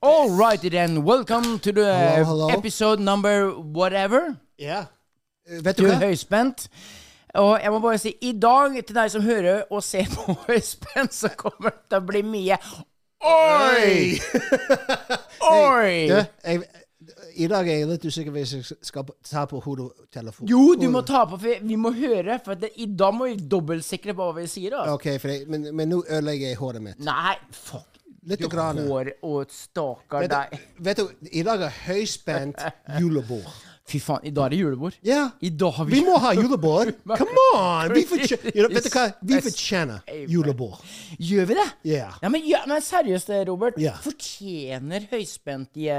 All righty then, welcome to the Hello, hello. episode number whatever. Ja. Eh, Vet Du du er hva? høyspent. Og jeg må bare si, i dag til deg som hører og ser på høyspent, så kommer det til å bli mye Oi! Du, Oi! jeg, I dag er jeg litt usikker hvis jeg skal ta på hodetelefonen. Jo, du må ta på, for vi må høre. For det, i dag må vi dobbeltsikre på hva vi sier. da. OK, for jeg, men, men nå ødelegger jeg håret mitt. Nei, fuck. Litt Du grann. går og staker Vet deg. du, vet du, I dag er høyspent julebord. Fy faen, i dag er det julebord. Ja. I dag har vi Vi må ha julebord! Come on! Vi fortjener, you know, vet du hva? Vi Christ. fortjener julebord. Gjør vi det? Ja. Ja, men, ja, men seriøst, eh, Robert. Ja. Fortjener høyspentlige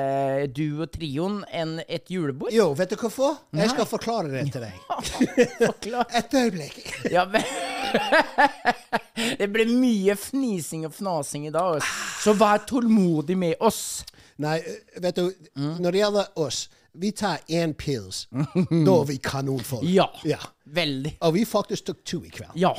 du og trioen en, et julebord? Jo, vet du hvorfor? Jeg skal forklare det til deg. Forklar. Et øyeblikk. Ja, men Det blir mye fnising og fnasing i dag, ass. så vær tålmodig med oss. Nei, eh, vet du, Mm. når det gjelder oss, vi tar én pils. Da er vi kanonfolk. Ja. ja. Veldig. Og vi faktisk tok to i kveld. Ja.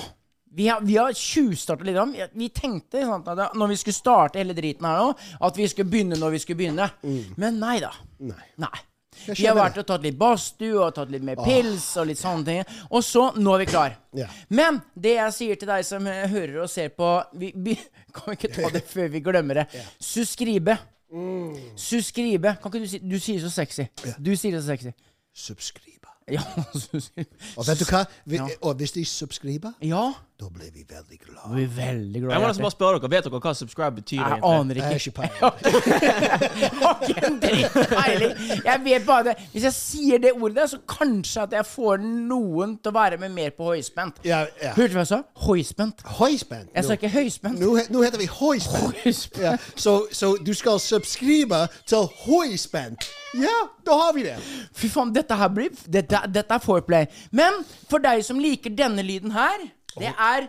Vi har, vi har tjuvstarta litt. grann. Vi tenkte sant, at når vi skulle starte hele driten her nå, at vi skulle begynne når vi skulle begynne. Men nei da. Mm. Nei. Jeg Vi har skjønner vært og tatt litt badstue og tatt litt mer pils og litt sånne ting. Og så, nå er vi klar. Ja. Men det jeg sier til deg som eh, hører og ser på vi, vi, Kan vi ikke ta det før vi glemmer det? Suskribe. Mm. Suskribe. Kan ikke du si Du sier så sexy. Du sier det så sexy. Subscriber. Ja, suskribe. Og vet du hva? Vi, Ja. Og hvis de subscriber, Ja. da blir vi veldig glade. Vi er veldig glad i Jeg må hjertet. nesten bare spørre dere, Vet dere hva subscribe betyr? Jeg egentlig? aner Jeg ikke. er ikke peiling. Har ikke en dritt peiling. Jeg vet bare det. Hvis jeg sier det ordet, der, så kanskje at jeg får noen til å være med mer på høyspent. Ja, ja. Hørte du hva jeg sa? Høyspent. Høyspent. Jeg sa Nå, ikke høyspent. nå, he- nå heter vi høyspent. Høyspent. Ja. Så, så du skal subscribe til høyspent. Ja, da har vi det. Fy faen, dette her blir Dette, dette er foreplay. Men for deg som liker denne lyden her, det er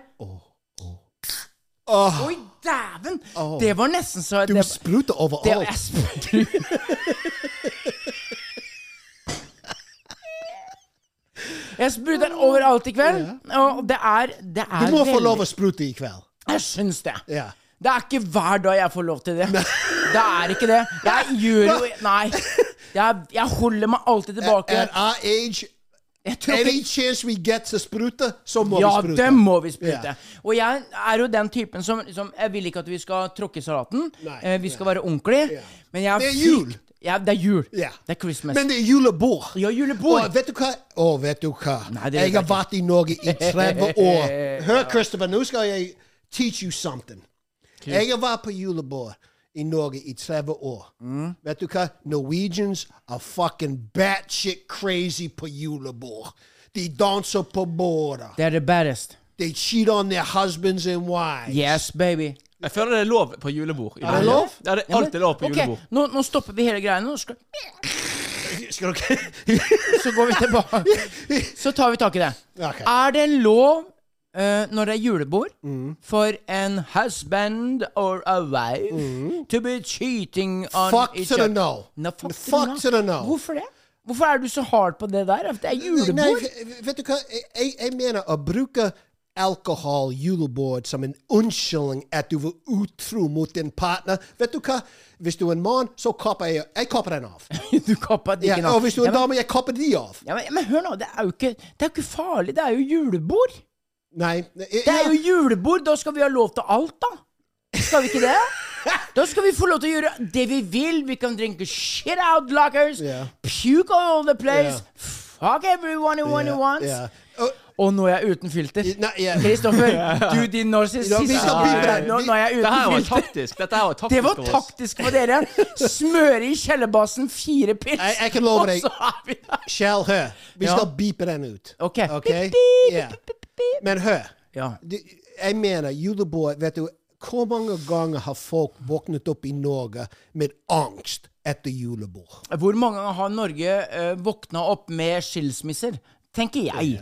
Åh, Oi, dæven! Det var nesten så du det, spruter det, jeg overalt. spurte- Jeg spruter overalt i kveld, og det er, det er Du må få veldig- lov å sprute i kveld. Jeg syns det. Ja. Det er ikke hver dag jeg får lov til det. Det er ikke det. Jeg gjør jo Nei. Jeg, jeg holder meg alltid tilbake. At our age, Jeg tror any ikke chance we get to sprute, så må ja, vi sprute. dem må vi sprute. Ja. Og jeg er jo den typen som, som Jeg vil ikke at vi skal tråkke i salaten. Nei. Eh, vi skal være ordentlige. Men jeg Det er jul. frykt- Ja, det er jul. Ja. Det er Christmas. Men det er julebord. Ja, julebord. Og vet du hva? Å, vet du hva? Nei, det vet jeg har jeg ikke. vært i Norge i 30 år. Hør, Christopher, nå skal jeg teach you something. Jeg har vært på julebord i Norge i 30 år. Mm. Vet du hva? Norwegians are fucking batshit crazy på julebord. De danser på bordet. det er det baddest. They cheat on their husbands and wives. Yes, baby. Jeg føler det er lov på julebord. i det Norge. lov? Ja, det er Ja, men- alltid lov på ok, julebord. Nå, nå stopper vi hele greia. Nå skal, Skal dere... så går vi tilbake. Så tar vi tak i det. Ok. Er det lov eh, når det er julebord for en husband or a wife to be cheating on Fuck each to the other? no. No, fuck, Fuck to the no. no. Hvorfor det? Hvorfor er du så hard på det der? At det er Nei, julebord? v- vet du hva? Jeg, jeg- jeg mener å nou, bruke alkohol, julebord, som en unnskyldning at du var utro mot din partner. Vet du hva? Hvis du er en mann, så kapper jeg Jeg kapper den av. du kappa dikken Ja, og hvis du er en Ja, men- dame, jeg kapper de av. ja, men, men hør nå, det er jo ikke, det er jo ikke farlig. Det er jo julebord. Nei. Det er jo julebord, da skal vi ha lov til alt, da. Skal vi ikke det? Da skal vi få lov til å gjøre det vi vil. Vi kan drinke shit out lockers. Yeah. Puke all over the place. Yeah. Fuck everyone who Yeah, wants. yeah. Oh, Og nå er jeg uten filter. Nei, ja. Kristoffer, du din Ja, vi narsissist. skal bli Nei, bra. Nå, nå er jeg Dette her uten var filter. taktisk. Dette her var taktisk Det var for oss. taktisk for dere. Smøre i kjellerbassen fire pils, Jeg- jeg kan love deg. og så er vi der. Kjell, hør. Vi Ja. Oh. skal beepe den ut. Ok. Ok? Beep, beep, Ja. beep, beep, beep. Men hør. Ja. Du, jeg mener, julebord Vet du hvor mange ganger har folk våknet opp i Norge med angst etter julebord? Hvor mange ganger har Norge eh, våkna opp med skilsmisser? Tenker jeg.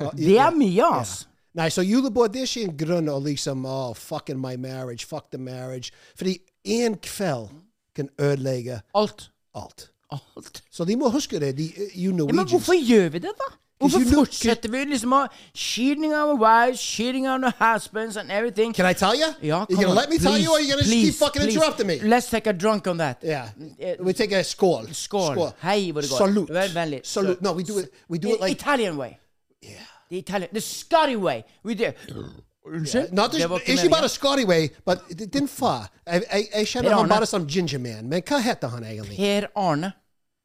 Uh, Det er mye, ass. Nei, så julebord det er ikke en grunn å liksom oh, Fucking my marriage, fuck the marriage. Fordi én kveld kan ødelegge Alt. alt. Alt. Så de må huske det, de eh, Ja, you men Norwegians. hvorfor gjør vi det, da? Hvorfor you look- fortsetter vi liksom å Cheating on our wives, cheating on our husbands and everything. Can I tell you? Ja, come you gonna on. let me tell you, or you gonna just keep please, fucking please. interrupting me? Let's take a drunk on that. Yeah. Eh, We take a skål. Skål. Hei, hvor det går. Salute. Vær vennlig. Salute. No, we do it. We do it The like Italian way. The Italian, the Scotty way. We do. Unnskyld? not eh, just, Det var ikke Ikke bare meningen. Scotty way, but d- din far. Jeg, jeg, Per jeg kjenner han Arne. bare som ginger man, men hva heter han egentlig? Per Arne.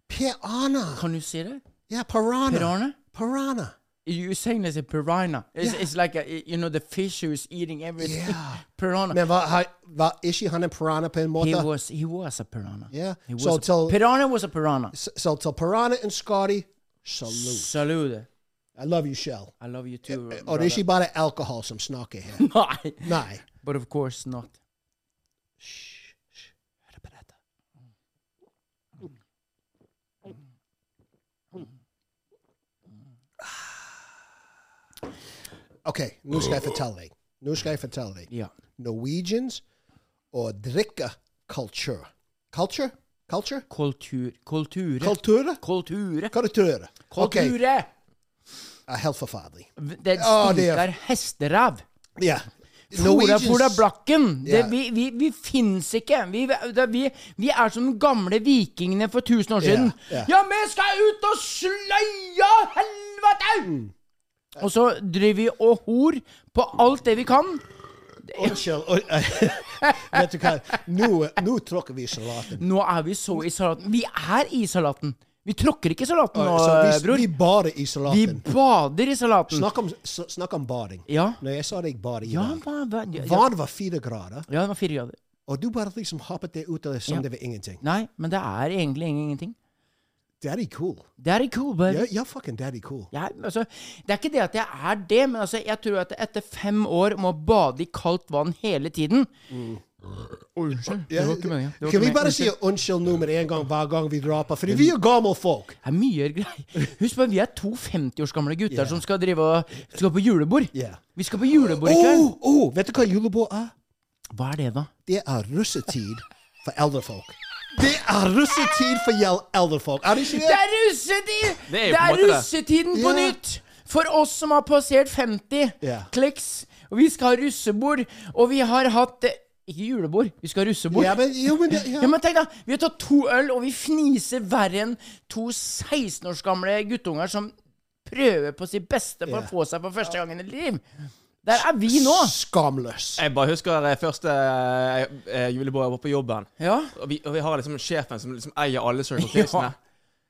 Per Arne. Kan du si det? Ja, Piranha. Per Arne? Piranha. You're saying there's a piranha. It's, Yeah. it's like, a, you know, the fish who's eating everything. Yeah. piranha. Men var, har- var ikke han en piranha på en måte? he was he was a piranha. Yeah. He was So a, tell- piranha was a piranha. S- Så til Piranha and Scotty, salute. Salute. I love you, Shell. I love you too. Og det er brother. ikke bare alkohol som snakker her. Nei. Nei. But of course not. Hør på dette. OK, nå skal jeg fortelle deg. Nå skal jeg fortelle deg. Ja. Norwegians og drikkekultur. Culture? Culture? Kultur. Kulture. Kultur? Kulture. Kultur. OK, Kulture. er helt forferdelig. Det Ja, det stinker er- hesteræv. Ja. Flora, Norwegians- Flora Blakken. Det, Ja. vi vi, vi fins ikke. Vi, det, vi, vi er som de gamle vikingene for 1000 år siden. ja. Ja, vi skal ut og sløya helvete! Mm. Og så driver vi og hor på alt det vi kan. Unnskyld. oi, Vet du hva? Nå, nå tråkker vi i salaten. Nå er vi så i salaten. Vi er i salaten. Vi tråkker ikke i salaten nå, eh, Så vi, bror. vi bader i Vi salaten. bader i salaten. Snakk om, s- snakk om bading. Ja. Når jeg sa deg bade i Ja, dag hva, hva, ja, ja, Vann var fire grader, ja, det var fire grader. og du bare liksom hoppet det ut av det som Ja. det var ingenting. Nei, men det er egentlig ingenting. Daddy cool. Det er ikke cool, bare. Ja, ja fucking daddy cool. Jeg, altså, det er ikke det at jeg er det, men altså, jeg tror at etter fem år med å bade i kaldt vann hele tiden Unnskyld. Det var ikke meningen. Mm. Det var Kan ikke vi bare meningen. si unnskyld nå med en gang hver gang vi drar på? Fordi vi er gamle folk. Det er mye greier. Husk på, vi er to 50 års gamle gutter som skal drive og skal på julebord. Ja. Vi skal på julebord i kveld. Oh, oh, vet du hva julebord er? Oh! Hva er det, da? Det er russetid for eldre folk. Det er russetid for Ah, gjel- eldre folk. Er det ikke Det det? er russetid! Det er jo Det på en er måte det. russetiden på Ja. nytt! For oss som har passert 50 Ja. kliks. Og vi skal ha russebord. Og vi har hatt eh, Ikke julebord, vi skal ha russebord. Ja, men, jo, men det, ja. Ja, men tenk da, Vi har tatt to øl, og vi fniser verre enn to 16 års gamle guttunger som prøver på sitt beste for Ja. å få seg for første gangen i liv. Der er vi nå. Skamløs. Jeg bare husker eh, første eh, eh, julebord jeg var på jobben. Ja. Og vi, og vi har liksom sjefen som liksom eier alle Circle K-ene.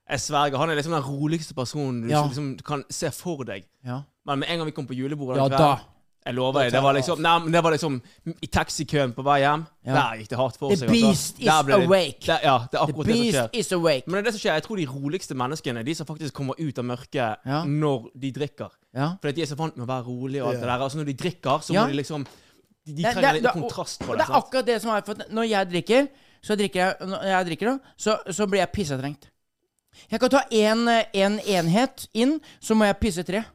Jeg sverger, han er liksom den roligste personen du Ja. liksom kan se for deg. ja. Men med en gang vi kom på julebordet Ja, den da. kvelden, Jeg lover deg, det var liksom Nei, men det var liksom i taxikøen på vei hjem. Der gikk det hardt for The seg. altså. beast is Der ble det- awake. Der, ja, det er The akkurat det som beast skjer. is awake. Men det er det som skjer. Jeg tror de roligste menneskene er de som faktisk kommer ut av mørket Ja. når de drikker. Ja. Fordi de er så vant med å være rolig og alt det Ja. der. Altså når de drikker, så Ja. må de liksom De, de Nei, trenger det- litt det- kontrast og på det. Det er akkurat det som er for at Når jeg drikker, så drikker jeg, når jeg drikker da, så, så blir jeg pissetrengt. Jeg kan ta én en, enhet inn, så må jeg pisse tre.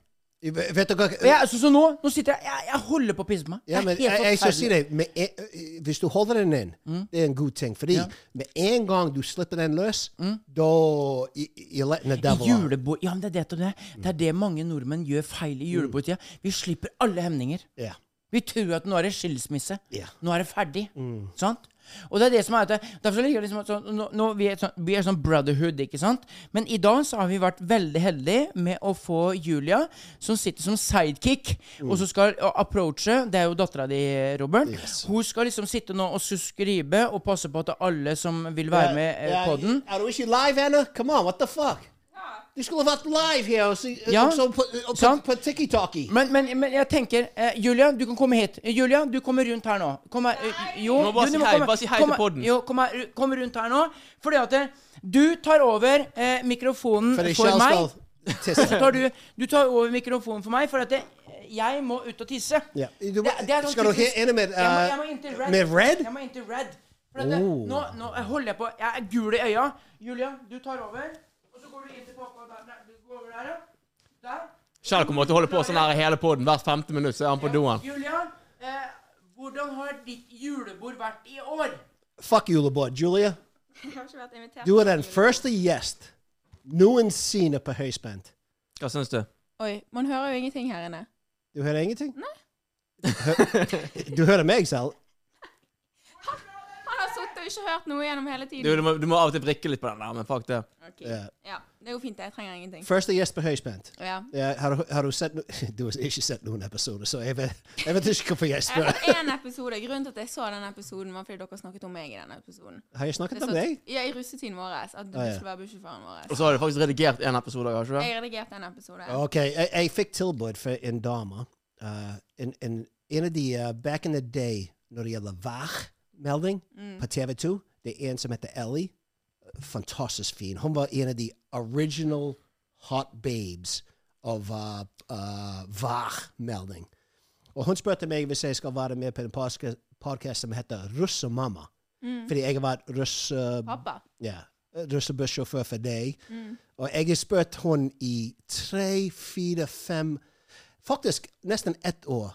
Vet du hva? Og Jeg, så, så nå, nå sitter jeg Jeg, jeg holder på å pisse på meg. Ja, men Det er jeg, helt jeg skal si forferdelig. deg, med en, hvis du holder den inn, det er en god ting. Fordi med en gang du slipper den løs, da you- You're letting the devil I out. julebord Ja, men det er det, det, det er det mange nordmenn gjør feil i julebordtida. Vi slipper alle hemninger. Ja. Vi tror at nå er det skilsmisse. Ja. Nå er det ferdig. Sant? Og det er det som er at det, Derfor så ligger det liksom at sånn, nå, nå vi, er sånn, vi er sånn brotherhood, ikke sant? Men i dag så har vi vært veldig heldige med å få Julia, som sitter som sidekick, og så skal uh, approache Det er jo dattera di, Robert. Hun skal liksom sitte nå og suskribe og passe på at alle som vil være med uh, på den Are we she live, Anna? Come on, what the fuck? Du skulle vært live her og si- Ja, og så på, og på, sant. på tiki-taki. Men, men, men jeg tenker eh, Julia, du kan komme hit. Eh, Julia, du kommer rundt her nå. Kom her. eh, Jo, Du må du, bare si du hei, komme- bare si hei kom, til podden. Jo, kom, her, ru- kom rundt her nå. Fordi at eh, du tar over eh, mikrofonen Fordi for Kjell meg. skal tisse. Så tar du, du tar over mikrofonen for meg, for at det, jeg må ut og tisse. Ja. Du må- Det- det er sånn skal du typisk- he- inn med, Jeg må- jeg eh, må inn til red. med red? Oh. Jeg må inn til red. For at det, nå, nå holder jeg på. Jeg er gul i øya. Julia, du tar over. Og så går du inn til pappa der. der. Du går over der, ja. Der. Kjell kommer til å holde på sånn her hele podden. Hvert femte minutt så er han på doen. Julia, eh, hvordan har ditt julebord vært i år? Fuck you, LeBoy. Julia, Jeg har ikke vært invitert. du er den første gjest noensinne på høyspent. Hva syns du? Oi, man hører jo ingenting her inne. Du hører ingenting? Hø- du hører meg selv. Han har sittet og ikke hørt noe gjennom hele tiden. Du, du, må, du må av og til vrikke litt på den der, men fuck det. Ok. Ja. Ja, det er jo fint. det. Jeg trenger ingenting. Første gjest på høyspent. Ja. Ja, har, du- har du sett no Du har ikke sett noen episoder, så jeg vet, jeg vet ikke hvorfor jeg Jeg har spør. fått én episode. Grunnen til at jeg så den episoden, var fordi dere snakket om meg i den episoden. Har jeg snakket Det om satt- deg? Ja, i russetiden vår. At du Ah, ja. skulle være bussjåføren vår. Og så har du faktisk redigert en episode, har du ikke det? Jeg redigerte en episode. Ok, jeg, jeg fikk tilbud fra en dame. eh, en, en, en av de eh, back in the day når det gjelder værmelding på TV 2, det er en som heter Ellie. Fantastisk fin. Hun var en av de original hot babes av eh, eh, værmelding. Og hun spurte meg hvis jeg skal være med på en podca- podcast som heter Russ og mamma. Fordi jeg har vært russ... eh, Pappa. ja. Russebussjåfør for deg. Mm. Og jeg har spurt hun i tre, fire, fem Faktisk nesten ett år.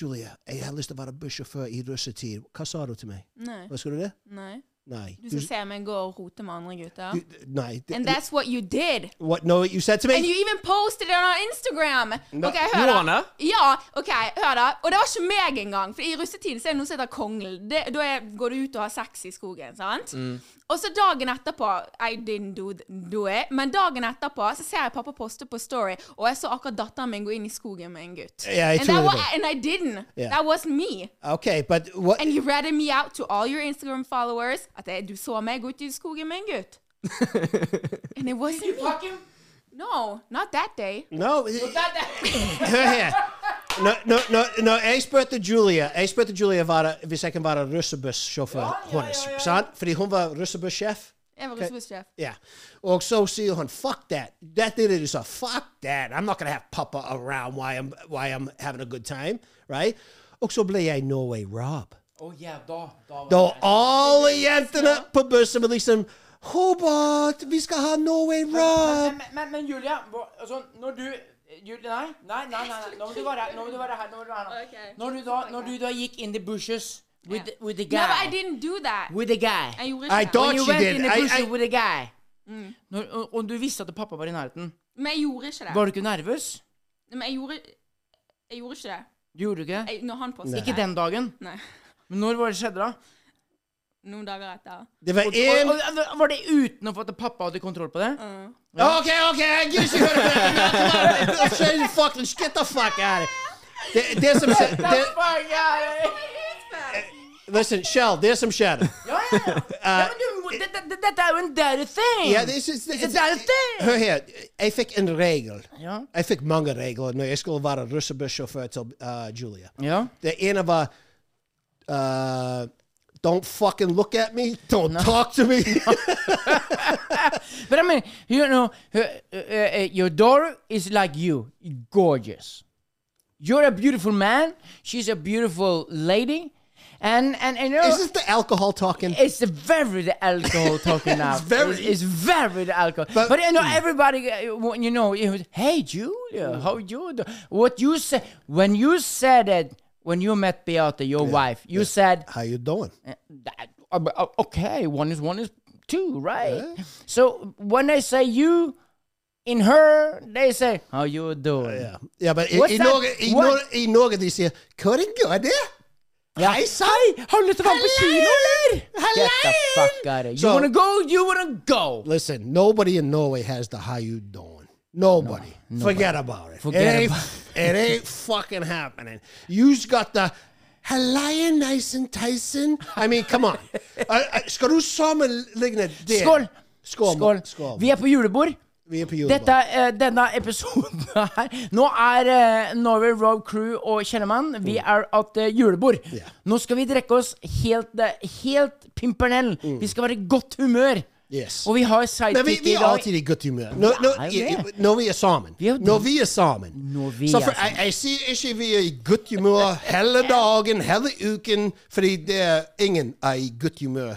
Julia, jeg har lyst til å være bussjåfør i russetid. Hva sa du til meg? Nei. Hva skulle du det? Nei. Nei. Du skal se meg gå og rote med andre gutter. du- nei. And that's what you did! What, no, you said to And me? you even posted it on Instagram! No, Ok, hør gjorde da. han det? Ja, ok, hør da. Og det var ikke meg engang. For i russetiden så er det noe som heter kongel. Det, da er, går du ut og har sex i skogen, sant? Mm. Og så dagen etterpå I didn't do, th- do it. Men dagen etterpå så ser jeg pappa poste på Story, og jeg så akkurat datteren min gå inn i skogen med en gutt. Ja, jeg and, tror det that wa- var- and I didn't. Ja. That was me. Okay, but what? And you ratted me out to all your Instagram followers at eh, du så meg gå ut i skogen med en gutt. and it wasn't me. Fuck him. No, not that day. No, That, that. hør her. Når no, no, no, jeg spurte Julia Jeg spurte Julia var, hvis jeg kan være russebussjåfør hennes. Sant? Fordi hun var russebussjef. Jeg var russebussjef. Yeah. Or so see on fuck that. That did it is a er fuck that. I'm not gonna have Papa around why I'm why I'm having a good time, right? Also play a Norway Rob. Å ja, da, da var Though all the er jentene på bussen med liksom Hobart, vi skal ha Norway Rob. men, men, men, men Julia, hva- altså, når du Julia, nei, nei, nei, nei, nei. Nå må du være her. Nå må du være her, nå må du være her. Ok. nå. Når du da, når du da gikk in the bushes with, Ja. the- with the No, but I guy didn't do that. With the guy. Jeg gjorde I ikke det. thought When you she went did. in the I- bushes I- with the guy. Mm. Når, og, og du visste at pappa var i nærheten. Men jeg gjorde ikke det. Var du ikke nervøs? Men jeg gjorde, jeg gjorde ikke det. Du gjorde ikke det? Jeg, når han postet Ikke den dagen. Nei. Men når var det skjedde, da? Noen dager etter. Det var Og, en og, og, var det uten å få at pappa hadde kontroll på det? Ok, ok, jeg gidder ikke høre på det. Shut the fucking get the fuck out of here. Det, det som skje- det, Fuck, ja, ja, ja. Listen, Shell, det som skjedde Ja, ja, Uh, ja. ja men du, må- det- det- det- Dette er jo en dirty thing! Ja, det er ikke- Det er alltid- Hør her, jeg fikk en regel. Ja. Jeg fikk mange regler når jeg skulle være russebussjåfør til uh, Julia. Ja. Det ene var uh, Don't fucking look at me. Don't talk to me. But I mean, you know, uh, uh, uh, your daughter is like you, gorgeous. You're a beautiful man. She's a beautiful lady, and and, and you know, Is this the alcohol talking? it's very the alcohol talking now. very- it's, it's very the alcohol. But, But- you know, everybody, uh, when you know, it was, hey Julia, how you do? What you said when you said it when you met Beata, your wife, you said How you doing? that- uh, uh, okay, one is one is two, right? So when I say you, In her, they say How you doing? Oh, Yeah, yeah but i, What's i, that? Norge, i, What? Norge, i Norge de sier 'Hvordan går det?' Ja. Hei sann! Hei, har du lyst til å være med på kino, eller? Get the Hallein! fuck out of here. You Så- wanna go, you wanna go. Listen, nobody in Norway has the how you doing. Nobody. Forget about it. Forget it ain't, about it. ain't fucking happening. You's got the Halleia, nice and Tyson. I mean, come on. uh, uh, skal du sammenligne det? Skål! Skål. Skål. Skål. Vi er på julebord. Vi er på julebord. Dette, eh, denne episoden her Nå er eh, Norway Road Crew og Kjellemann Vi er at eh, julebord. Mm. Ja. Nå skal vi drikke oss helt, eh, helt pimpernell. Vi skal være i godt humør. Mm. Yes. Og vi har Men vi, sidekick vi i er dag. alltid i godt humør. Når, når, er jo i- i- det. når vi er sammen. Vi er jo Når det. vi er sammen. Når vi så er for, sammen. jeg, jeg sier ikke vi er i godt humør hele dagen, hele uken, fordi det er ingen er i godt humør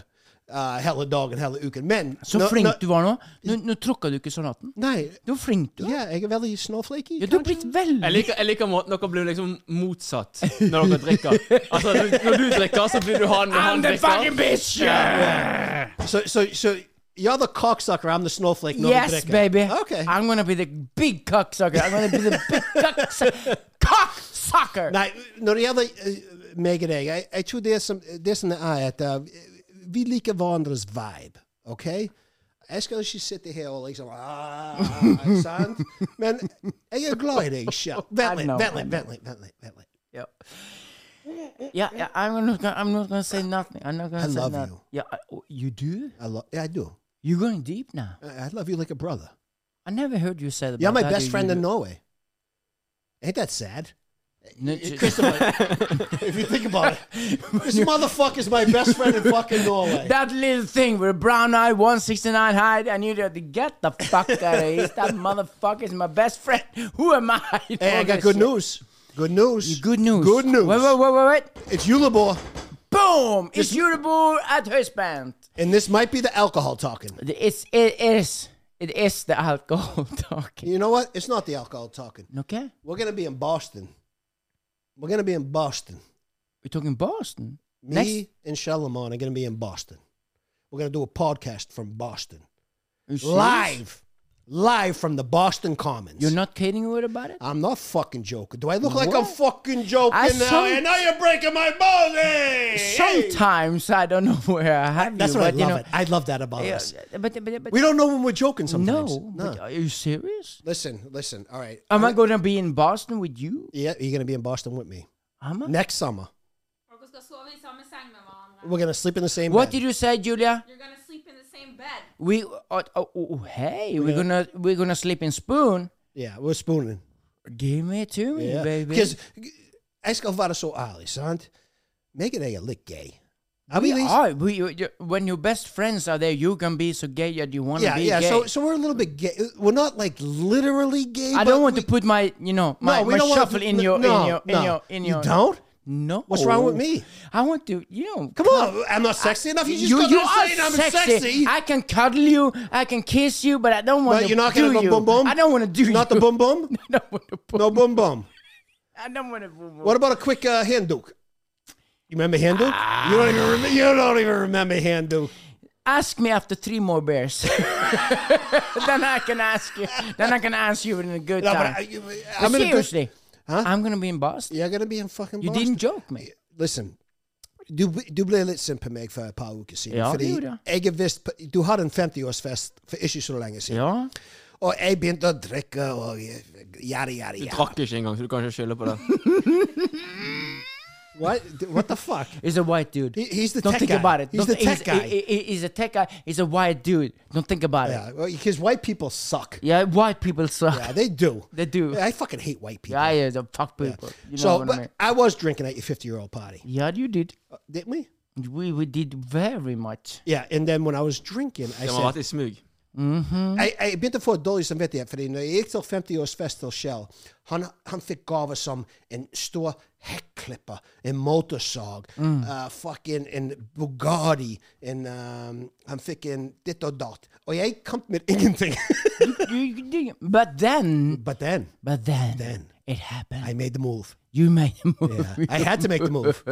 eh, hele dagen, hele uken. Men Så flink du var nå. Nå, nå tråkka du ikke salaten. Nei. Du var flink, du. Ja, jeg er veldig snowflakey. Ja, du kanskje. har blitt Jeg veldig liker, jeg liker måten dere blir liksom motsatt når dere drikker. Altså, når- Når du drikker, så blir du han når han drikker. bitch! Så så- så You're the cocksucker, I'm the snowflake. når vi Yes, drikker. baby. Okay. I'm gonna be the big cocksucker. I'm gonna be the big cocksucker. cocksucker! Nei, når det gjelder eh, meg og deg, jeg, jeg tror det som, det som er at eh, vi liker hverandres vibe, ok? Jeg skal ikke sitte her og liksom ah, sant? Men jeg er glad i deg selv. Vent I litt, know, vent I litt, vent litt, vent litt, vent litt. Yeah. Yeah, yeah I'm not gonna, I'm not gonna say nothing. I'm not gonna I say love nothing. you. Yeah, I, oh, you do? I love, yeah, I do. You're going deep now. I I love you like a brother. I never heard you say that. You're but my I best do, friend you do. in Norway. Ain't that sad? No, j- if you think about it, this motherfucker's my best friend in fucking Norway. That little thing with a brown eye, 169 height, and you had to get the fuck out of here. That motherfucker is my best friend. Who am I? hey, I All got this good shit. news. Good news. Good news. Good news. Wait, wait, wait, wait, wait. It's Ulibor. Boom! It's Eurobor at Høysband. And this might be the alcohol talking. It's, it is. It is the alcohol talking. You know what? It's not the alcohol talking. Okay? We're gonna be in Boston. We're gonna be in Boston. We're talking Boston. Me Next. and Shalamon are gonna be in Boston. We're gonna do a podcast from Boston. You serious? Live. Live from the Boston Commons. You're not kidding me about it? I'm not fucking joking. Do I look like I'm What? fucking joking I now? some- and now you're breaking my balls. eh? Hey! Sometimes I don't know where I have That's you. what I but, love you know, it. I love that about yeah, us. but, but, but, We don't know when we're joking no, sometimes. but are you serious? Listen, listen. All right. Am I going to be in Boston with you? Yeah, you're gonna be in Boston with me Am I? next summer. Dere skal sove i samme seng med hverandre. We're gonna sleep in the same. What bed. did you say, Julia? You're gonna sleep in the same bed. We uh, oh, oh, hey, we're gonna we're gonna sleep in spoon. Yeah, we're spooning. Give it to me, Yeah. baby. Because jeg skal være så ærlig, sant? Meg og deg er litt gay. Are We we least- are. Oh, We, you- you- when your best friends are there, you can be so gay that you want to Yeah, be yeah. gay. So, so we're a little bit gay. We're not like literally gay. I but don't want we- to put my, you know, my, No, we my don't wanna shuffle put- in your, no, in your, in no. your, in You your. Oh. don't? No. What's wrong with me? I want to, you know. Come on, I'm not sexy enough. You just You, got you done are saying I'm sexy. sexy. I can cuddle you. I can kiss you, but I don't want but to you're not do gonna go you. boom boom. I don't want to do you. Not the boom boom. I don't want to boom. No boom boom. I don't want to boom. boom. What about a quick uh, hand duke? You remember hand duke? Ah. You don't even remember. You don't even remember hand duke. Ask me after three more beers. then I can ask you. Then I can ask you in a good No, but time. I, you- But I'm gonna go- seriously, Huh? I'm gonna be in Boston. You're gonna be in fucking. You Boston. didn't joke me. Listen, du, du ble litt sint på meg for et par uker siden. Ja, det fordi gjorde jeg. jeg er visst på- Du hadde en 50-årsfest for ikke så lenge siden. Ja. Og jeg begynte å drikke og yada, yada, Du yada. drakk ikke engang, så du kan ikke skylde på det. What, what the fuck? He's a white dude. He- he's the Don't tech think guy. about it. He's Don't- the tech guy. He, he- he's a tech guy. He's a white dude. Don't think about Yeah, it. because white people suck. Yeah, white people suck. Yeah, they do. They do. I fucking hate white people. Yeah, yeah, the fuck people. You know so, what but I mean? I was drinking at your 50 year old party, Uh, Yeah, you did. didn't we? We we did very much. Yeah, and then when I was drinking, I Det said, må ha vært i smug. Jeg, jeg begynte å få dårlig samvittighet, fordi når jeg gikk til 50-årsfest til Shell, han, han fikk gaver som en stor hekklipper, en motorsag, uh, fucking en Bugatti, en, um, han fikk en ditt og datt. Og jeg kom med ingenting. You- you did. But then, But then, but then, Then. it happened. I made the move. you made a move. Yeah, I had to make the move.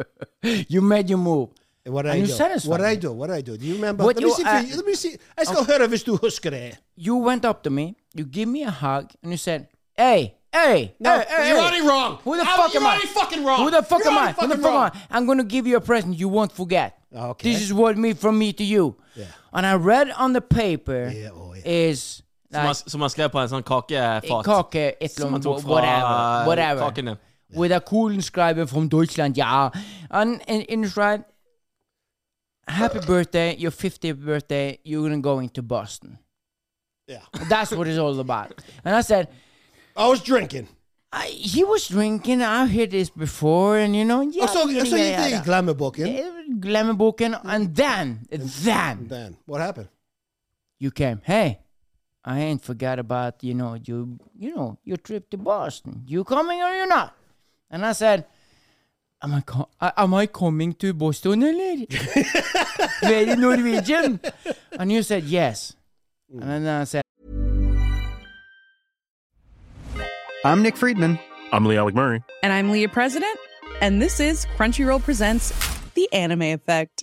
You made your move. And what did Are I you do? satisfied? What did I do? What did I do? Do you Oh. remember? What let, you- me see uh, if you, let me see. Jeg skal høre hvis du husker det. You went up to me. You give me a hug and you said, hey, hey, No, hey, hey, hey. you're already wrong. Who the I'm- fuck you're am I? already fucking wrong. Who the fuck You're am I? already Who the fucking fuck am I? wrong. I'm gonna give you a present you won't forget. Okay. This is what me from me to you. Yeah. And I read on the paper Yeah, oh, yeah. is Som like han- Som han skrev på en sånn kakefat. kake, et eller Som han annet, tok fra whatever. whatever. kakene. With a cool scriber from Deutschland, ja. And in, in the shrine, happy birthday, your 50th birthday, you're gonna go into Boston. Yeah. That's what it's all about. And I said, I was drinking. I, he was drinking, I've heard this before, and you know, yeah. Og så yeah, så gikk yeah, det i yeah. glamourboken. Eh, Glamourboken, and then, then, Then, what happened? you came. Hey, I ain't forgot about you know you you know your trip to Boston. You coming or you not? And I said, Am I co- uh, am I coming to Boston eller? Very Norwegian. And you said yes. Mm. And then I said. I'm Nick Friedman. I'm Lee Alec Murray. And I'm Leah President, and this is Crunchyroll Presents The Anime Effect.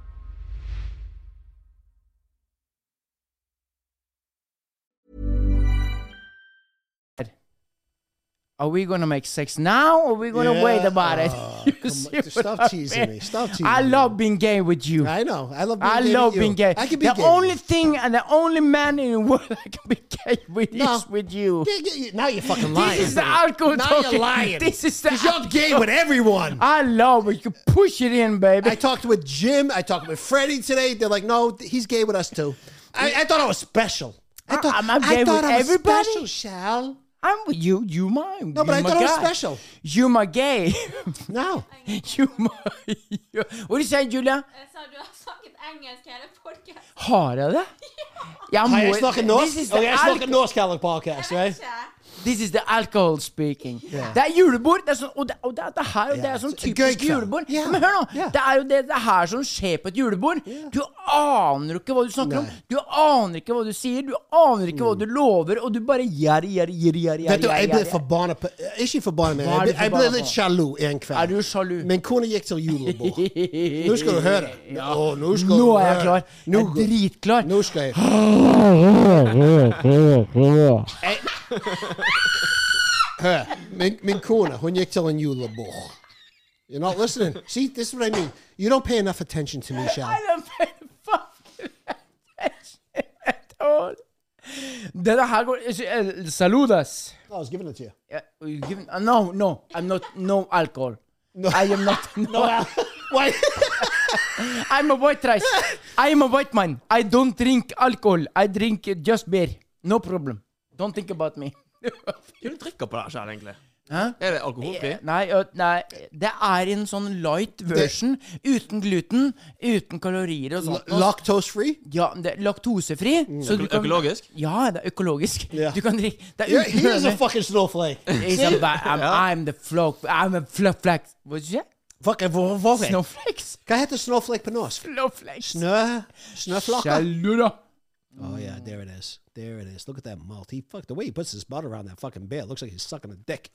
Are we gonna make sex now, or we gonna Yeah. wait about it? Oh, You come on. see Just what stop I teasing me. mean? Stop teasing I me. love being gay with you. I know. I love being I gay. with love you. being gay. I can be the gay. only thing and the only man in the world I can be gay with No. is with you. Yeah, yeah, yeah. Now you're fucking lying. This is the alcohol Now talking. you're lying. This is the 'Cause you're gay with everyone. I love it. You push it in, baby. I talked with Jim. I talked with Freddie today. They're like, no, th- he's gay with us too. I, I thought I was special. I Uh, thought am I gay thought with I was everybody? special, Shal. I'm with you. You mine. No, but you I my thought I was guy. special. You my gay. No. you my. What do you say, Julia? Jeg sa du har snakket engelsk hele podkasten. Har jeg det? Jeg Har jeg må- snakket This is norsk? the Og jeg snakker alco- norsk hele podcast, right? This is the alcohol speaking. Det er julebord. Det er sånn, og, det, og det er det her, og det Ja, er sånn så- gøy typisk kveld. julebord. Ja, Men hør nå, ja. det er jo det, det her som skjer på et julebord. Du aner jo ikke hva du snakker om. Du aner ikke hva du sier, du aner ikke hva du lover, og du bare gjerr, gjerr, gjerr, gjerr, Mm. Vet du, jeg ble gjerr. forbanna på eh, Ikke forbanna, men Hva er jeg du ble, jeg ble forbanna litt på? sjalu en Er kveld. du sjalu? Min kone gikk til julebord. Nå skal du høre. Å, nå, skal Nå du er jeg høre. klar. Jeg Nå, er går- dritklar. nå skal jeg Hør. Eh, Min, min kone, hun gikk til en julebord. You're not listening. See, this is what I mean. You don't pay enough attention to me, Shal. I don't pay fucking attention at all. Denne her går eh, Saludas. I was giving it to you. Yeah, will you give, uh, no, no, I'm not. No alcohol. No. I am not. No, Why? I'm a white rice. I am a white man. I don't drink alcohol. I drink uh, just beer. No problem. Don't think about me. Hva er det du drikker på der sjøl, egentlig? Hæ? Er det alkoholfri? Nei, ø, nei, det er en sånn light version. Uten gluten, uten kalorier og sånt. Lactose free? Ja, det er laktosefri. Så du kan, Økologisk? ja, det er økologisk. Mm. Ja. Du kan drikke Det er Yeah, uten he is a gluten. fucking snowflake. He's a ba- I'm, Ja. I'm the flock I'm a flock flack. Hva sa du? Fucking hvor- hvorfor? Snowflakes? Hva heter snowflake på norsk? Snowflakes. Snø? Snøflakker? Saluda. Oh yeah, there it is. There it is. Look at that mouth. He fuck the way he puts his butt around that fucking bear. Looks like he's sucking a dick.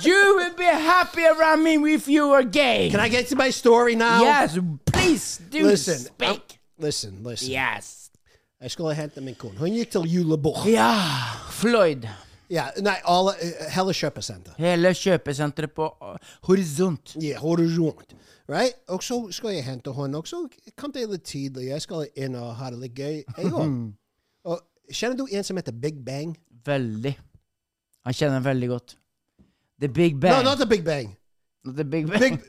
You will be happy around me if you are gay. Can I get to my story now? Yes, please do Listen, speak. Listen, listen. yes. Jeg skulle hente min kone. Hun gikk til julebord. Ja, Floyd. Ja, nei, alle, eh, hele kjøpesenter. Hele kjøpesenteret på uh, Horisont. Ja, horisont. Right? Og så skal jeg hente henne. Og så kom det litt tidlig. Jeg skal inn og ha det litt gøy, jeg Mhm. òg. Og Kjenner du en som heter Big Bang? Veldig. Han kjenner den veldig godt. The Big Bang. No, not the Big Bang. Not the Big Bang. Big,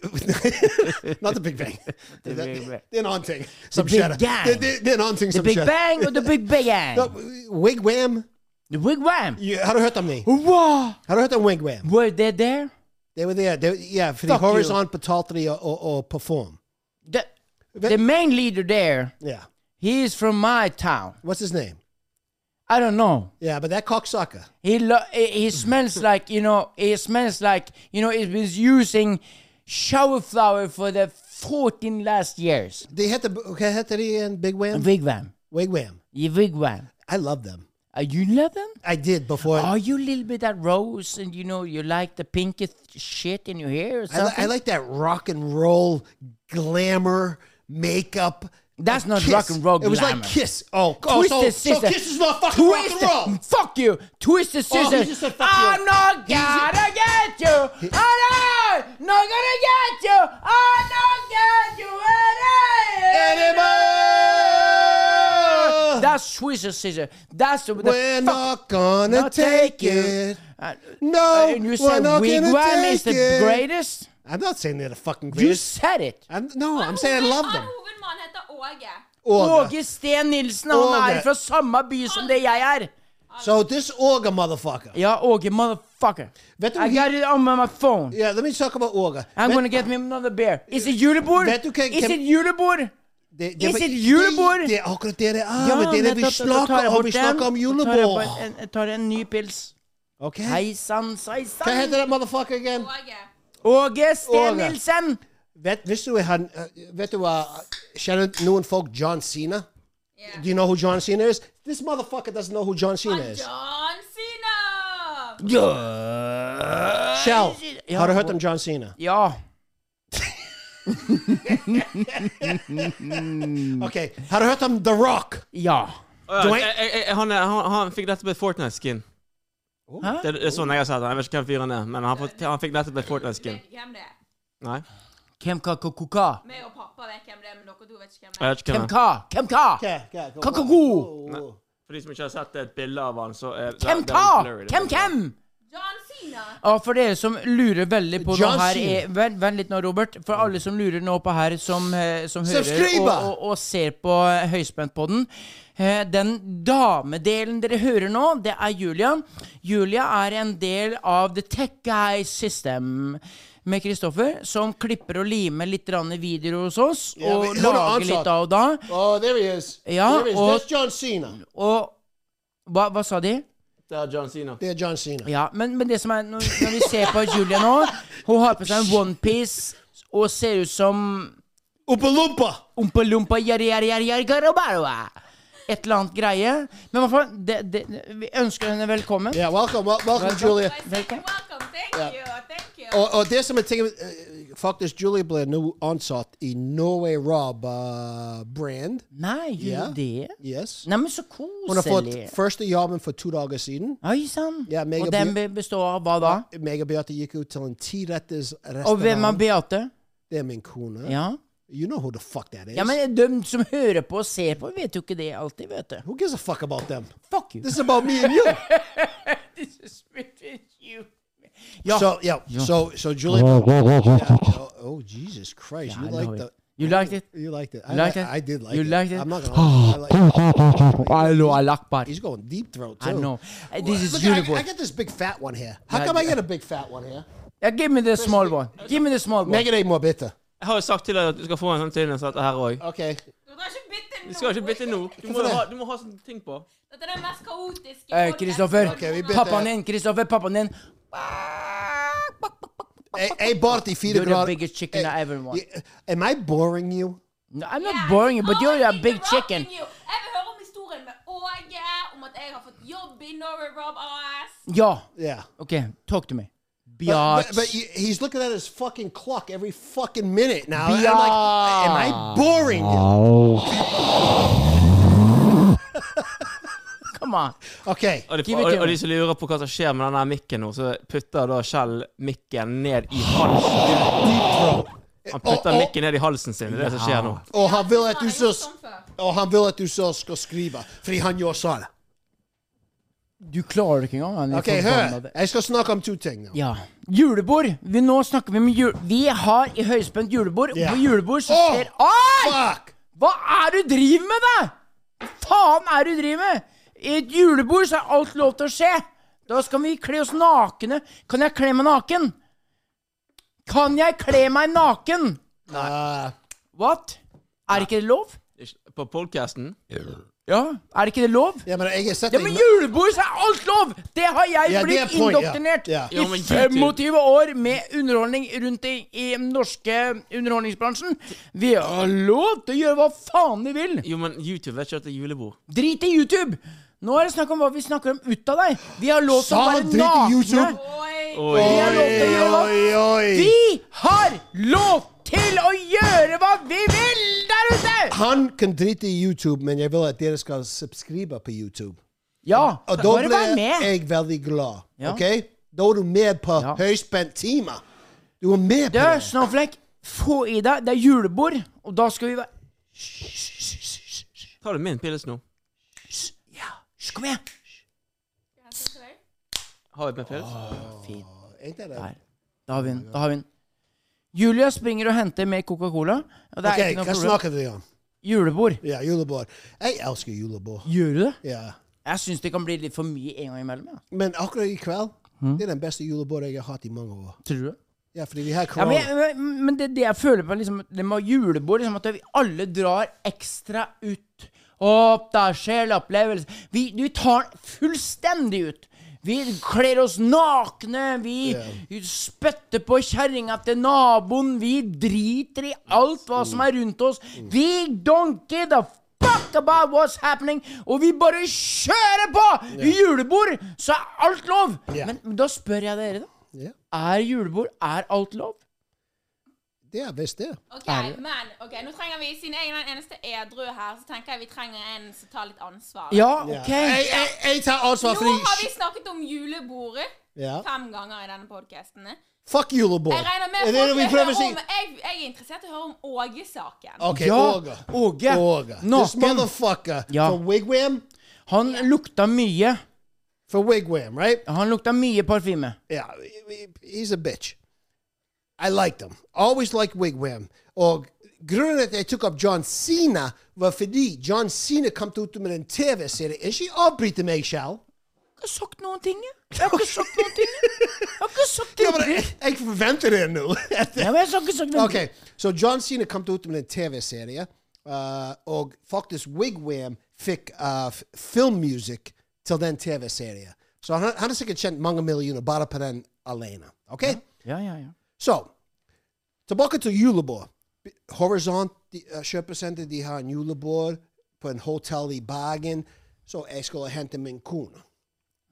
not the Big Bang. Big Det Bang. det er en annen ting. Som Big skjer. Gang. Det- Det det er en annen ting the som Big skjer. Bang og The Big Bang. No, Wigwam. The Wigwam. Ja, Har du hørt om dem? Wow. Har du hørt om Wigwam? Were they there? Det- They were there. They, yeah, for Fuck the you. horizon pataltri or, or, or perform. The, the main leader there, Yeah. he is from my town. What's his name? I don't know. Yeah, but that cocksucker. He lo- he he smells like you know. He smells like you know. He was using shower flower for the fourteen last years. They had the okay, had the and Big Wham. Wigwam, Wigwam. you wigwam. I love them. Uh, you love them? I did before. Are you a little bit that rose and you know you like the pinkest shit in your hair or I, li- something? I like that rock and roll glamour makeup. That's like not rock and roll It was like glamour. Kiss. Oh, oh Twisted so, so Sister. Kiss is not fucking Twisted- rock and roll. Fuck you. Twisted Oh, he Sister. just said fuck you. I'm not He's- gonna get you. I'm not, not gonna get you. I'm not get you anymore. Anymore. That's Twisted Sister. That's the, the We're fuck- not gonna not take you. it. Uh, No, and you we're said not gonna Wigwam is take the it. greatest. I'm not saying they're the fucking You greatest. said it. I'm, no, I'm saying I love them. Han hovedmannen heter Åge. Orga. Åge Sten Nilsen, han er Åge. fra samme by som det jeg er. So this Orga motherfucker. Ja, Åge, motherfucker. Vet du I hva- got it on my phone. Yeah, let me talk about Orga. I'm Vet- gonna get me another beer. Is it julebord? Vet du hva- Is kan- it julebord? Det, det, Is det- it julebord? Det er akkurat det det er. men det er det vi nettopp, da tar jeg snakker om. bort Vi den, snakker om så tar jeg julebord. bare en- Jeg tar en ny pils. Ok? Hei sann, hei Hva heter sann. that motherfucker again? Åge. Åge Sten Åge. Nilsen. Vet, hvis du han, eh, vet du hva Kjenner noen folk John Cena? Do you know who John Cena is? This motherfucker doesn't know who John Cena is. John Sina! Shell, Ja, har du hørt om John Cena? Ja. Ok, Har du hørt om The Rock? Ja. Å ja, Dwayne- jeg- jeg- jeg- Han, er- han, han fikk nettopp et Fortnite-skin. Hæ? Det, det er sånn jeg har sett han. Jeg vet ikke hvem fyren er, men han, fått- han fikk nettopp et Fortnite-skin. Hvem det er? Nei, Hvem ka kokoka? Meg og pappa vet hvem det er, men dere to vet ikke hvem det jeg er. vet ikke hvem Hvem det er. ka? Hvem ka? Hva- hva- hva- Kakao! Nei. For de som ikke har sett det, et bilde av han, så er det- Hvem det er ka? blurry, det er Hvem bare- hvem? John Sina! Ja, for dere som lurer veldig på John noe her Cena. er, vent, vent litt nå, Robert. For alle som lurer nå på her, som, eh, som hører Subscribe! og, og, og ser på Høyspentpodden. Eh, den damedelen dere hører nå, det er Julia. Julia er en del av The Tech Guy System med Kristoffer, som klipper og limer litt grann videoer hos oss. Ja, og vi- hold on, lager Ansat. litt av og da. Oh, there he is. oh. Ja, there he is. og- That's John Cena. Og hva, hva sa de? Det er John Cena. Det er John Cena. Ja, men, men det som er når, når vi ser på Julia nå Hun har på seg en onepiece og ser ut som Oompa Loompa! Umpa Lumpa yari, yari, yari, yari, garabarua. Et eller annet greie. Men i hvert fall, det, det, vi ønsker henne velkommen. Yeah, welcome, wel- welcome, Julia. I said, Welcome, thank you, thank you. Og, og det som er tingen eh, Faktisk, Julia ble nå ansatt i Norway Rob eh, brand. Nei, gjør Ja. hun det? Yes. Nei, men så Hun har koselig. fått første jobben for to dager siden. Oi sann. Ja, mega og den be- består av hva da? Meg og Beate gikk ut til en tiretters restaurant. Og hvem er Beate? Det er min kone. Ja. You know who the fuck that is. ja, men de som hører på og ser på, vet jo ikke det alltid, vet du. who gives a fuck about them? Fuck you. This is about me and you. This is between you. So, yeah. So, so Julia. Yeah, oh, oh, Jesus Christ. you I like love it. the. You liked it? You liked it. I liked li- it? I did like You it. liked it? I'm not gonna lie. I liked it. I know, I like party. He's going deep throat too. I know. Uh, This is Look, beautiful. I, I got this big fat one here. How Yeah, come I yeah. get a big fat one here? Yeah, give me the small one. Give me the small one. Make it ain't more bitter. Jeg har jo sagt til deg at du skal få en sånn til en sånn her òg. Okay. Du skal ikke bytte nå. Du skal ikke bytte nå. Du må, Hvorfor det? ha, du må ha sånne ting på. Dette er den mest kaotiske Eh, podcasten Kristoffer, Ok, vi bytter. pappaen din, Kristoffer, pappaen din. Hey, hey Barty, feed You're the biggest chicken Eh, I ever want. Am I boring you? No, I'm Yeah, not boring you, but I'm you're a always big chicken. interrupting you. Jeg vil høre om historien med Åge, om at jeg har fått jobb i Norway Rob AS. Ja, Yeah. ok, talk to me. But, Biatch. but, but you- he's looking at his fucking clock every fucking minute now. and I'm like, am I boring you? Come on. Okay. Oh, Og de, Give it og, to og me. de som lurer på hva som skjer med den her mikken nå, så putter da Kjell mikken ned i halsen. Han putter mikken ned i halsen sin. Det er det som skjer nå. Og han vil at du Jeg har så, gjort sånn før. og han vil at du så skal skrive, fordi han gjorde sånn. Du klarer det ikke engang. han er Ok, forbannet. hør. Jeg skal snakke om to ting nå. Ja. Julebord. Vi, nå snakker vi om jul... Vi har i høyspent julebord. Ja. På julebord så Åh, skjer Oi! Oh, Fuck! Hva er det du driver med, da? Hva faen er det du driver med? I et julebord så er alt lov til å skje. Da skal vi kle oss nakne. Kan jeg kle meg naken? Kan jeg kle meg naken? Uh, What? Er ikke det lov? Ikke- På podcasten? Ja. Er ikke det lov? ja, men jeg har sett Ja, deg men na- julebord så er alt lov! Det har jeg Ja, det er blitt point, ja. indoktrinert Ja. Ja, men i YouTube- 25 år med underholdning rundt i, i den norske underholdningsbransjen. Vi har lov til å gjøre hva faen vi vil! Jo, men YouTube vet ikke at det er julebord. Drit i YouTube! Nå er det snakk om hva vi snakker om ut av deg. Vi har lov til å Sa han være drit i nakne. YouTube? Oi. Oi. Vi har lov til å gjøre hva Oi, oi. Vi har lov til å gjøre hva vi vil der ute! Han kan drite i YouTube, men jeg vil at dere skal subscribe på YouTube. Ja, Og da bare ble vær med. jeg veldig glad. Ja. Ok? Da er du med på Ja. høyspent time. Du er med Du, på det. Snowflake, få i deg. Det er julebord, og da skal vi være Tar du min pils nå? Hysj, Kom igjen! Har jeg med pils? Ain't that a- Der. Da har vi den. Da har vi den. Julia springer og henter mer Coca-Cola. Og det er Ok, ikke noe hva problem. snakker vi om? Julebord. Ja, julebord. Jeg elsker julebord. Gjør du det? Ja. Jeg syns det kan bli litt for mye en gang imellom. Ja. Men akkurat i kveld, det er den beste julebordet jeg har hatt i mange år. Tror du det? Ja, fordi vi har Ja, korona. men, jeg- men- men det, det jeg føler på liksom, det med julebord, liksom, at vi alle drar ekstra ut. Opp, det er sjelopplevelse. Vi, vi tar den fullstendig ut. Vi kler oss nakne, vi spytter på kjerringa til naboen, vi driter i alt hva som er rundt oss. Vi don't give a fuck about what's happening, og vi bare kjører på! I julebord så er alt lov! Ja. Men, men da spør jeg dere, da. Ja, Er julebord Er alt lov? det er visst det. Ok, men ok, nå trenger vi, siden jeg er den eneste edru her, så tenker jeg vi trenger en som tar litt ansvar. Ja, Ja. ok. Jeg, jeg, jeg tar ansvar Nå har fordi vi snakket om julebordet Ja. fem ganger i denne podcasten. Fuck julebord. Jeg regner Er med det det folk vi vil prøver høre å si? om jeg, jeg er interessert i å høre om Åge-saken. Ok, ja, Åge. Åge. Åge. This Naken. motherfucker Ja. from Wigwam. Han lukta mye. From Wigwam, right? Han lukta mye parfyme. Yeah, he- he- he's a bitch. I liked him. Always liked Wigwam. Og grunnen til at jeg tok opp John Cena, var fordi John Cena kom ut med en TV-serie. Ikke avbryte meg, Shal. Jeg har ikke sagt noen ting, jeg. Jeg har ikke sagt noen ting. Jeg har ikke sagt Ja, noen men jeg, ting. jeg forventer det nå. Ja, men jeg har ikke sagt noen ting. Ok, så John Cena kom ut med en TV-serie, eh, og faktisk Wigwam fikk uh, filmmusikk til den TV-serien. Så han, han har sikkert tjent mange millioner bare på den alene. Ok? Ja, ja, ja. Så, tilbake til julebord. Horisont de, eh, kjøpesenter, de har en julebord på en hotell i Bergen. Så jeg skulle hente min kone.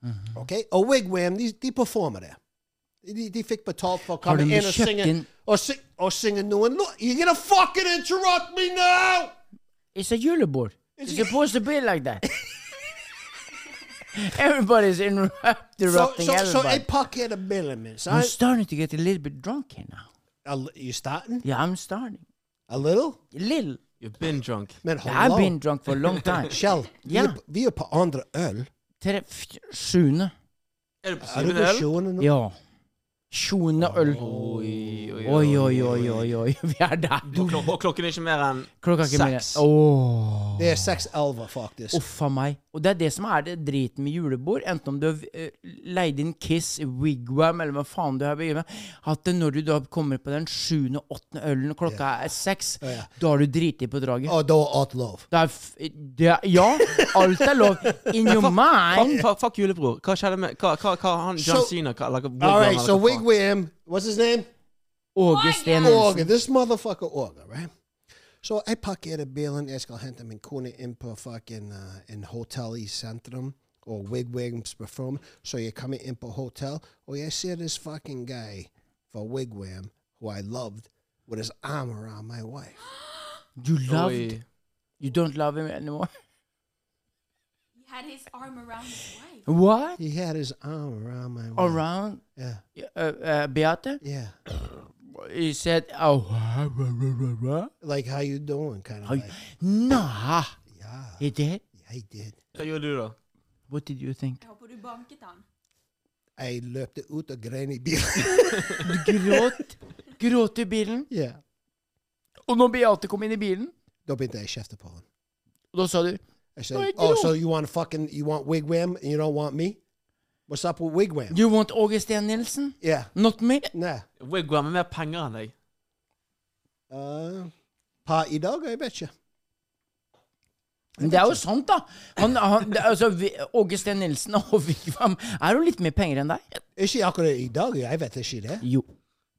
Mm-hmm. Ok? Og Wigwam, de, de performer det. De, de fikk betalt for å Har komme de inn og kjøpt synge, inn- og, sy og synge noen lå- You're gonna fucking interrupt me now! It's a julebord. It's supposed to be like that. Everybody's interrupting Så so, everybody. jeg parkerer bilen min. Så I'm jeg, starting to get a little bit drunk here now. a, li- you starting? Yeah, I'm starting. A little? A little. You've been drunk. Men I've been hallo, drunk for a long time. Kjell, vi, Ja. er, vi er på andre øl. Tre, f- sjuende. Er du på Er du syvende på øl? sjoene nå? Ja. Sjuende øl. Oi, oi, Oi, oi, oi, oi, oi. Vi er der. Og klok- og klokken er ikke mer enn Klokka er ikke mer. Oh, Seks. Åh. Det er 6-11, faktisk. Uff a meg. Og det er det som er det driten med julebord. Enten om du har eh, leid inn Kiss, Wigwam eller hva faen du har begynt med. At det når du da kommer på den sjuende, åttende ølen, og klokka er seks, Ja. da har du driti på draget. Og da er alt lov. Det er, f det er Ja, alt er lov. In your Fuck, mind. fuck, fuck julebror. Hva skjedde med Hva, hva, hva han John So- Cena hva, eller, hva- All right, hva- so hva faen? Wigwam, what's his name? Åge Orga. Stenensen. This motherfucker Orga, right? Så jeg parkerer bilen, jeg skal hente min kone inn på fucking uh, en hotell i sentrum, og Wigwams perform. Så jeg kommer inn på hotell, og jeg ser this fucking guy fra Wigwam, who I loved, with his arm around my wife. You loved. Oi. You don't love him anymore. He had his arm around his wife. What? He had his arm around my wife. Around Yeah, uh, uh, Beate? yeah. He said, oh, Like, how you doing, kind of How you- like. nah. Yeah, He did? I did. Hva gjorde du, da? What did you think? Jeg håper du banket han. Jeg løpte ut og grein i bilen. Gråt. Gråt i bilen. yeah. Og når Beate kom inn i bilen, Da begynte jeg å kjefte på han. og da sa du Jeg Nei, sa ikke oh, nå. so you want fucking, you want wigwam and you don't want me? What's up with Wigwam? You want August Sten Nielsen? yeah. Not me? Nah. Wigwam er mer penger enn deg. Uh, party dog, I bet you. Men det er jo sant, da. Han, han, det, altså, vi- Åge Sten Nilsen og Vigvam er jo litt mer penger enn deg. Ikke akkurat i dag, jeg vet ikke det. Jo.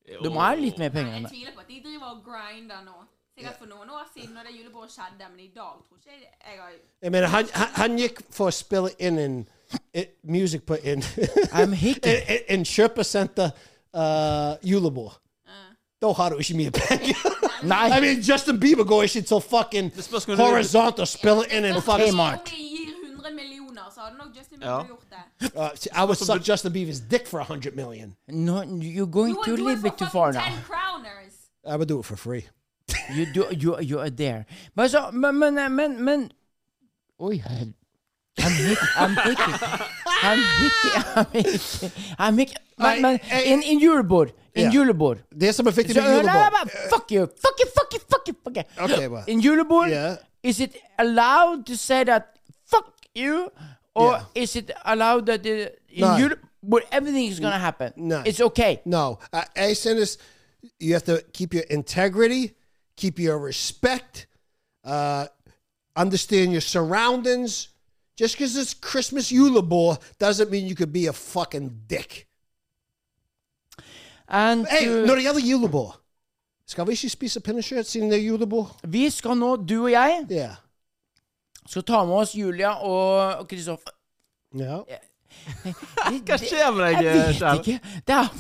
De er litt mer penger enn Jeg deg. tviler på at de driver og grinder nå. Sikkert for noen år siden når det julebordet skjedde, men i dag tror ikke jeg jeg har Jeg mener, han, han, han gikk for å spille inn en en music på en, I'm hickey. en, en, en kjøpesenter uh, julebord. Da har du ikke mye penger. Nei. I mean, Justin Bieber går ikke til fucking Det spørs om du- horisont og spiller inn en fucking Om Kmart. vi gir 100 millioner, så hadde nok Justin Bieber Ja. gjort det. Uh, see, I would suck Justin Bieber's dick for 100 million. No, you're going You too would do little it bit for too far fucking now. 10 crowners. I would do it for free. You do, you, you are there. Men så, men, men, men, men Oi, hel- I'm hickey. I'm hickey. I'm hickey. I'm hickey. I'm hickey. Men, men Nei, jeg- in, in julebord. In Ja. julebord. Det som er viktig Så, med nei, nei, julebord nei, fuck you. Fuck you, fuck you, fuck you, fuck you. Okay, well. In julebord, Yeah. is it allowed to say that fuck you? Or Yeah. is it allowed that uh, in No. julebord everything is going to happen? No. It's okay. No, I, I send this. You have to keep your integrity, keep your respect, uh, understand your surroundings. Just because it's Christmas Ulibor doesn't mean you could be a fucking dick. And Hey, to- når det gjelder julebord Skal vi ikke spise pinnekjøtt siden det er julebord? vi skal nå, du og jeg, Ja. skal ta med oss Julia og og Kristoffer. ja. Hva skjer med deg, Jeg vet Kjell? ikke. Det er,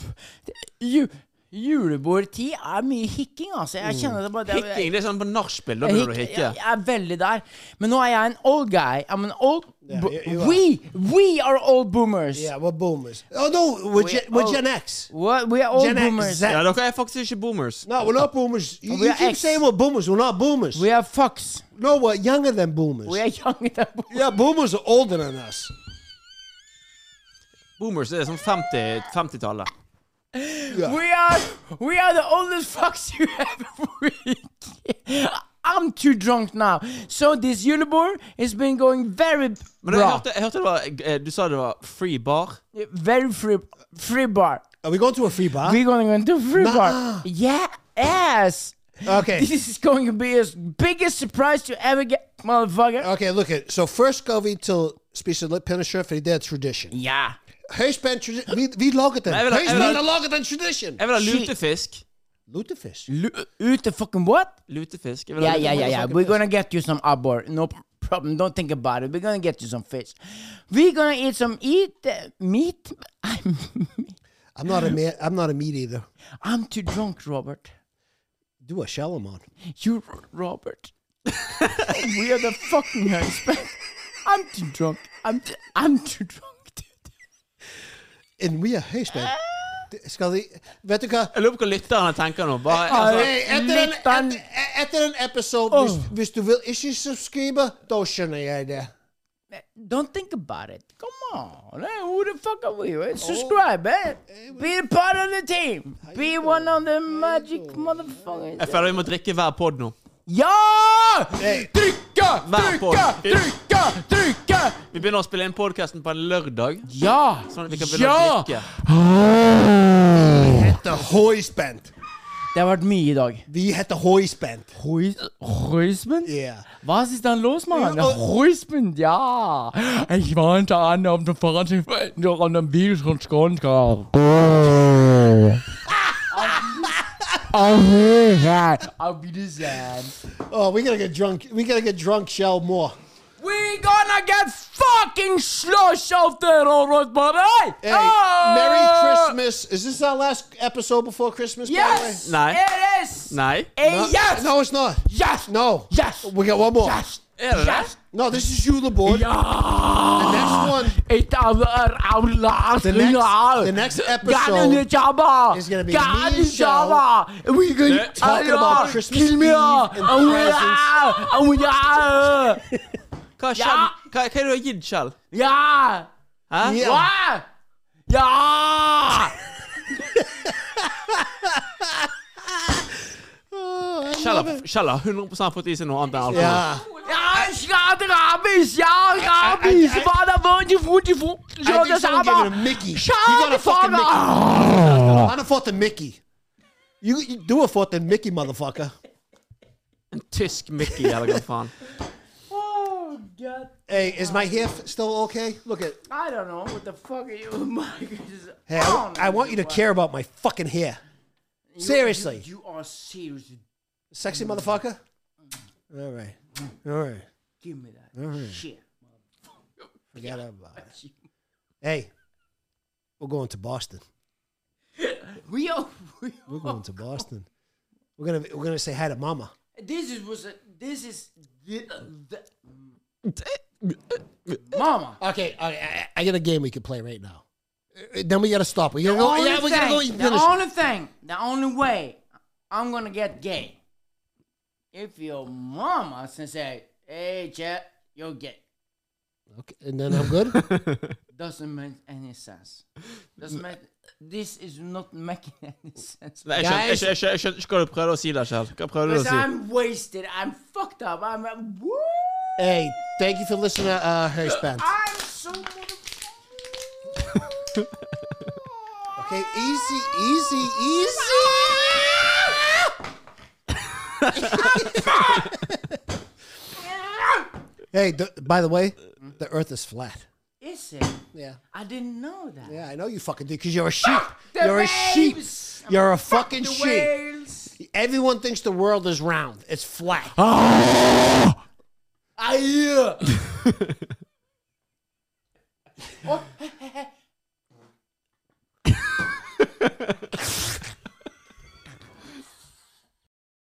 det, ju, julebordtid er mye hikking, altså. Jeg kjenner det bare. Det, Hikking, det er sånn på nachspiel. Da begynner du å Hikk- hikke. Jeg, jeg er veldig der. Men nå er jeg en old guy. I'm an old bo- you- you are. we, we are old boomers. Yeah, we're boomers. Oh, no, we're, We- gen, we're oh. Gen X. What? We are old Gen X, boomers. Z. Ja, dere er faktisk ikke boomers. No, we're not boomers. You, We you are keep X. saying we're boomers. We're not boomers. We are fucks. no, we're younger than boomers. We are younger than boomers. yeah, boomers are older than us. Boomers er sånn 50 50-tallet. We are we are the oldest fucks you ever I'm too drunk now. So this Julebor has been going very Men jeg bra. hørte, jeg hørte det var, eh, du sa det var free bar. Very free free bar. Are we going to a free bar? We're gonna go into free bar. Nah. Yeah ass. Okay. This is going to be his biggest surprise you ever get, motherfucker. Okay, look at so first går vi til spiser litt pinnekjøtt, fordi det er tradition. Ja. Høyspent tradition. Vi, vi laget den. Nei, jeg vil ha- jeg vil ha- Høyspent har laget den tradition. Jeg vil ha Shit. lutefisk. Lutefisk. Lu- Ut the fucking what? Lutefisk. Jeg vil ha Yeah, yeah, lutefisk. yeah, yeah. We're gonna get you some abor. No p- problem. Don't think about it. We're gonna get you some fish. We're gonna eat some eat uh, meat. I'm I'm not a man. I'm not a meat either. I'm too drunk, Robert. Do a shalamon. You, Robert. we are the fucking husband. I'm too drunk. I'm t- I'm too drunk, dude. And we are høyspent. Skal de Vet du hva? Jeg lurer på hva lytterne tenker nå. Bare, Ah, altså, Hey, etter, den, Lytteren- etter, etter den episode, Oh. hvis, hvis du vil ikke subscribe, da skjønner jeg det. Don't think about it. Come on. eh, Who the fuck are we? Eh, Subscribe, eh? Be a part of the team. Be one of the magic motherfuckers. jeg føler vi må drikke hver pod nå. Ja! Drikke, Vær på. drikke, drikke, drikke! Vi begynner å spille inn podkasten på en lørdag. Ja! Sånn at vi kan begynne å ja! drikke. Heter høyspent. Det har vært mye i dag. Vi heter høyspent. Rüsmen? Yeah. Was ist denn los, Mann? Ja, oh. Rüsmen, ja. Ich wollte an auf dem Fahrrad noch an dem Bier schon runter. Auf Wiedersehen. Auf Wiedersehen. Oh, we gotta get drunk. We gotta get drunk, Shell, more. We gonna get fucking slush auf der Rotbarei! Hey, Oh! Merry Christmas. Is this our last episode before Christmas? by the Yes! Nei. It is! Nei. A way? No, yes! No, it's not. Yes! No. Yes! We got one more. Yes! Er det det? Yes! No, this is you, LeBoy. The Ja! next one. It our our last The next- hour. the next Got in the episode Java. is gonna be Got me in and Shell Java. We can talking I know. about Christmas Kill me Eve off. and Oh, presents. yeah. Oh, yeah. Hva, Kjell, Ja. hva, hva er det du har gitt Kjell? Yeah. Hæ? Yeah. What? Yeah. Kjell, har, Kjell har 100 fått i seg noe annet enn alkohol. Yeah. Yes. got rabies! Ja, rabies! Hva da, hvor de hvor de hvor? I think someone gave it a Mickey. you got a fucking Mickey. I done fought the Mickey. You, you do a fought the Mickey, motherfucker. En tysk Mickey, eller hva faen. Hey, is my hair f- still okay? Look at. I don't know what the fuck are you, Mike. is Hey, I, on I want you to What? care about my fucking hair. You- Seriously. you, you are serious. Sexy motherfucker. All right. All right. Give me that shit. Forget about it. Hey, we're going to Boston. We are. We We're going to Boston. We're gonna we're gonna say hi to Mama. This is was a, this is the, Mama. Okay, okay I, I got a game we can play right now. Uh, Then we gotta stop. We gotta The go. only Oh, Yeah, we gotta go. thing- eat the dinner. only thing, the only way I'm gonna get gay, if your mama says, "Hey, Chet, you're gay," Okay, and then I'm good. doesn't make any sense. Doesn't Mm. make. This is not making any sense. Nei, jeg skjønner- jeg skjønner jeg skjønner- jeg skjønner ikke hva du prøvde å si der, Kjell. Hva prøvde du å Because si? I'm wasted. I'm fucked up. I'm. I'm woo! hey, thank you for listening to uh, Harry Spence. I'm so. motherfucking- Okay, easy, easy, easy. hey, the, by the way, the Earth is flat. Is it? Yeah. I didn't know that. Yeah, I know you fucking do, because you're a sheep. The you're a sheep. waves! You're a fucking The sheep. whales. Everyone thinks the world is round. It's flat. Ah! Aye.